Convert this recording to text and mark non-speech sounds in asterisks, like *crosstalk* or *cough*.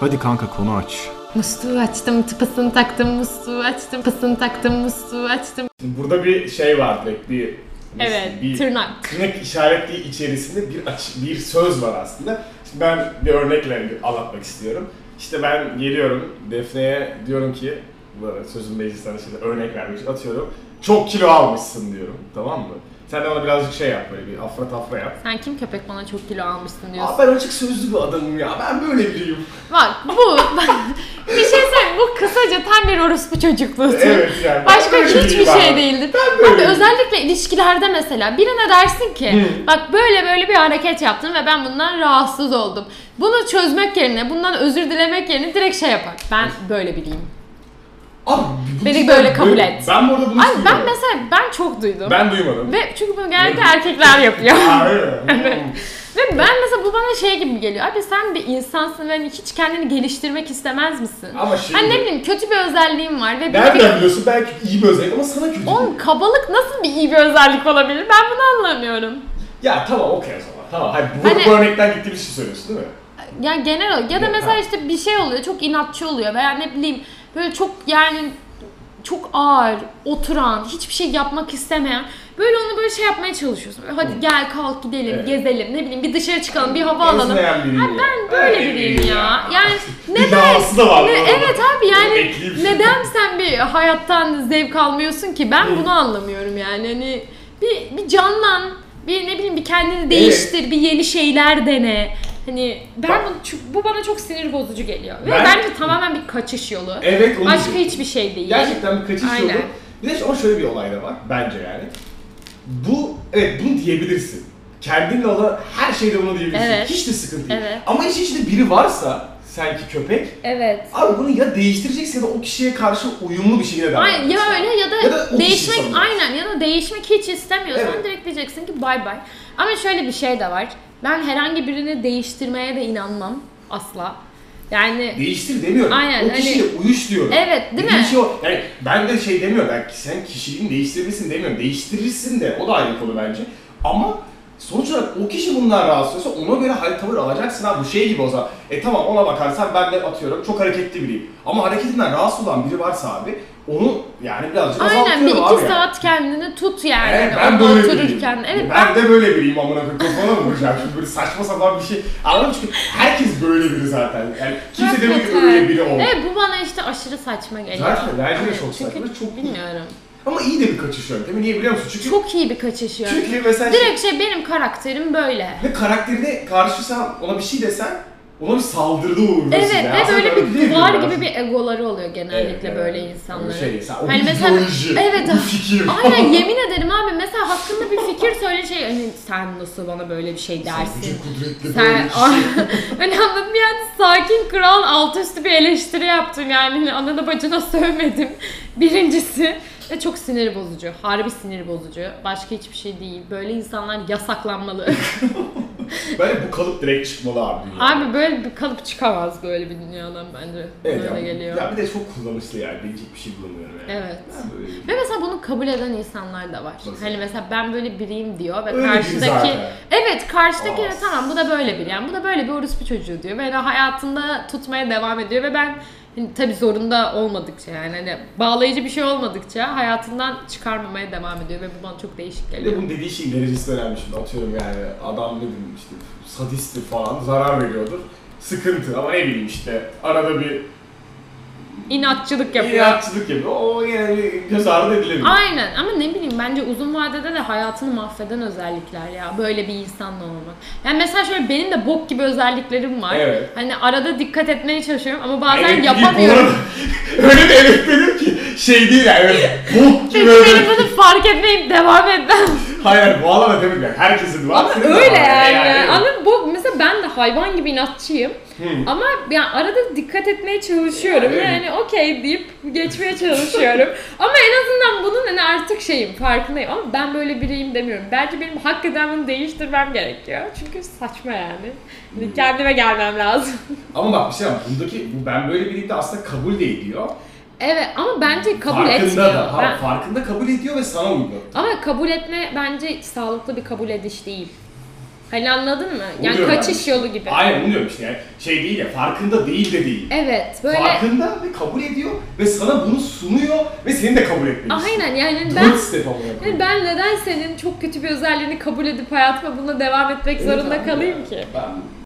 Hadi kanka konu aç. Musluğu açtım, tıpasını taktım, musluğu açtım, tıpasını taktım, musluğu açtım. Burada bir şey var direkt bir Evet, bir tırnak. tırnak işaretliği içerisinde bir aç- bir söz var aslında. Şimdi ben bir örnekle bir anlatmak istiyorum. İşte ben geliyorum Defne'ye diyorum ki bu arada sözün meclisten şimdi örnek vermiş atıyorum. Çok kilo almışsın diyorum tamam mı? Sen de bana birazcık şey yap böyle bir afra tafra yap. Sen kim köpek bana çok kilo almışsın diyorsun. Aa, ben açık sözlü bir adamım ya ben böyle biriyim. Bak bu, bir şey söyleyeyim, bu kısaca tam bir orospu çocukluğu. Evet yani. Başka Öyle hiçbir biriyim şey abi. değildi. böyle Abi değilim. özellikle ilişkilerde mesela birine dersin ki Hı. bak böyle böyle bir hareket yaptın ve ben bundan rahatsız oldum. Bunu çözmek yerine bundan özür dilemek yerine direkt şey yapar. Ben böyle bileyim. Abi, bu Beni cidden böyle kabul et. Ben burada bunu Abi ben duymadım. mesela ben çok duydum. Ben duymadım. Ve çünkü bunu genellikle erkekler yapıyor. Aa, öyle. *laughs* Ve ben mesela bu bana şey gibi geliyor. Abi sen bir insansın ve hani hiç kendini geliştirmek istemez misin? Ama şimdi- Hani ne bileyim kötü bir özelliğim var ve bir, Nereden biliyorsun? Belki iyi bir özellik ama sana kötü. Oğlum kabalık nasıl bir iyi bir özellik olabilir? Ben bunu anlamıyorum. Ya tamam okey o zaman. Tamam. Hayır, bu, Hani- bu örnekten gittiğimiz şey söylüyorsun değil mi? Ya genel olarak ya da Ya, mesela ha. işte bir şey oluyor çok inatçı oluyor veya ne bileyim böyle çok yani çok ağır oturan hiçbir şey yapmak istemeyen böyle onu böyle şey yapmaya çalışıyorsun. Böyle, hadi gel kalk gidelim Evet. gezelim ne bileyim bir dışarı çıkalım bir hava alalım. Ezmeyen biriyim Ha, ya. ben böyle Öyle biriyim ya. biriyim ya. Yani Bir neden? dahası da var. Ne- bu arada. evet abi yani ekleyeyim şimdi. neden sen bir hayattan zevk almıyorsun ki? Ben bunu anlamıyorum yani. Hani bir, bir canlan, bir ne bileyim bir kendini değiştir, bir yeni şeyler dene. Hani ben Bak. bunu, çünkü bu bana çok sinir bozucu geliyor. Ve Ben- bence tamamen bir kaçış yolu. Evet onu Başka diyeyim. hiçbir şey değil. Gerçekten bir kaçış Aynen. yolu. Bir de ama şöyle bir olay da var bence yani. Bu evet bunu diyebilirsin. Kendinle olan her şeyde bunu diyebilirsin. Evet. Hiç de sıkıntı değil. Evet. Ama işin içinde biri varsa sanki köpek Evet. abi bunu ya değiştireceksin ya da o kişiye karşı uyumlu bir şekilde Aynen, davranırsın. ya öyle ya da, Ya da o değişmek kişiyi savunacaksın. aynen ya da değişmek hiç istemiyorsan Evet. direkt diyeceksin ki bay bay. Ama şöyle bir şey de var. Ben herhangi birini değiştirmeye de inanmam asla. Yani Değiştir demiyorum. Hani Aynen, hani o kişiyle uyuş diyorum. Evet, değil Dediğim mi? şey o. Yani ben de şey demiyorum. Yani sen kişiliğini değiştirebilirsin demiyorum. Değiştirirsin de. O da aynı konu bence. Ama sonuç olarak o kişi bundan rahatsız olsa ona göre hal tavır alacaksın abi. Bu şey gibi o zaman. E tamam ona bakarsan ben de atıyorum çok hareketli biriyim. Ama hareketinden rahatsız olan biri varsa abi onu yani birazcık Aynen bir azaltıyorum abi. iki saat kendini tut yani. Evet, Orada ben böyle otururken. biriyim. Evet ben, ben, de böyle biriyim amına koyayım. Kafana mı vuracağım şimdi böyle saçma sapan bir şey. Anladın mı? Çünkü herkes böyle biri zaten. Yani kimse demiyor ki Hakikaten. öyle biri ol. Evet bu bana işte aşırı saçma geliyor. Zaten bence de Evet, çok saçma. Çünkü Çok bilmiyorum. Ama iyi de bir kaçış yöntemi. Niye biliyor musun? Çünkü Çok iyi bir kaçış yani. çünkü mesela şey- Direkt şey benim karakterim böyle. ve karakterine karşı sen ona bir şey desen ona bir saldırıda uğruyorsun Evet ya. ve Aslında böyle değil bir mi duvar biraz? gibi bir egoları oluyor Evet, genellikle evet. böyle Öyle insanların. Şey, sen, o Hani bir mesela- ideoloji, Evet, o bir fikir. Aynen *laughs* yemin ederim abi mesela hakkında bir fikir söyle şey hani sen nasıl bana böyle bir şey Sen bütün dersin. kudretli Sen böyle şey. *laughs* hani anladın mı yani sakin kral alt üstü bir eleştiri yaptın yani Hani anana bacına *laughs* sövmedim birincisi ve çok sinir bozucu harbi sinir bozucu başka hiçbir şey değil böyle insanlar yasaklanmalı *laughs* Bence bu kalıp direkt çıkmalı abi. dünyadan. abi böyle bir kalıp çıkamaz böyle bir dünyadan bence Evet böyle ya, geliyor Ya bir de çok kullanışlı yani. Bilecek bir şey bulamıyorum yani. Evet. Ben böyle biriyim. ve mesela bunu kabul eden insanlar da var. Nasıl? Hani mesela ben böyle biriyim diyor ve Öyle biri karşıdaki zaten. Evet karşıdaki Aa. "Evet, tamam bu da böyle bir yani bu da böyle bir orospu çocuğu diyor ve hayatında tutmaya devam ediyor ve ben hani, tabii zorunda olmadıkça yani hani bağlayıcı bir şey olmadıkça hayatından çıkarmamaya devam ediyor ve bu bana çok değişik Bir de geliyor. bunun dediği şeyin derecesi de önemli şimdi atıyorum yani adam ne bileyim işte sadisttir falan zarar veriyordur. Sıkıntı ama ne bileyim işte arada bir İnatçılık yapıyor. inatçılık yapıyor. O yine bir göz ardı edilebilir. Aynen ama ne bileyim bence uzun vadede de hayatını mahveden özellikler ya böyle bir insanla olmak. Yani mesela şöyle benim de bok gibi özelliklerim var. Evet. Hani arada dikkat etmeye çalışıyorum ama bazen Evet, yapamıyorum. bu arada- *laughs* Öyle bir evet dedim ki şey değil yani öyle bok gibi Çünkü öyle. benim bunu fark etmeyip devam *laughs* etmem. Hayır bu alana demek yani herkesin var. senin de var. Öyle yani. evet. Anladın mı? bu mesela ben de hayvan gibi inatçıyım. Hı. Ama yani arada dikkat etmeye çalışıyorum. Yani. Yani okey deyip geçmeye *laughs* çalışıyorum. Ama en azından bunun hani artık şeyim farkındayım. Ama ben böyle biriyim demiyorum. Bence benim hakikaten bunu değiştirmem gerekiyor. Çünkü saçma yani. Hani kendime gelmem lazım. Ama bak bir şey var bundaki bu ben böyle biriyim de aslında kabul de ediyor. evet ama bence kabul farkında etmiyor. da. Ha, Ben- Farkında kabul ediyor ve sana uyuyor. ama kabul etme bence sağlıklı bir kabul ediş değil. Hani anladın mı? Bunu Yani diyorum kaçış yolu gibi. Aynen onu diyorum işte yani şey değil ya farkında değil de değil. Evet böyle Farkında ve kabul ediyor ve sana bunu sunuyor ve seni de kabul etmeni istiyor. aynen yani ben Hani Dört step amına yani koyayım. ben neden senin çok kötü bir özelliğini kabul edip hayatıma bununla devam etmek Evet zorunda abi. kalayım ki? Ben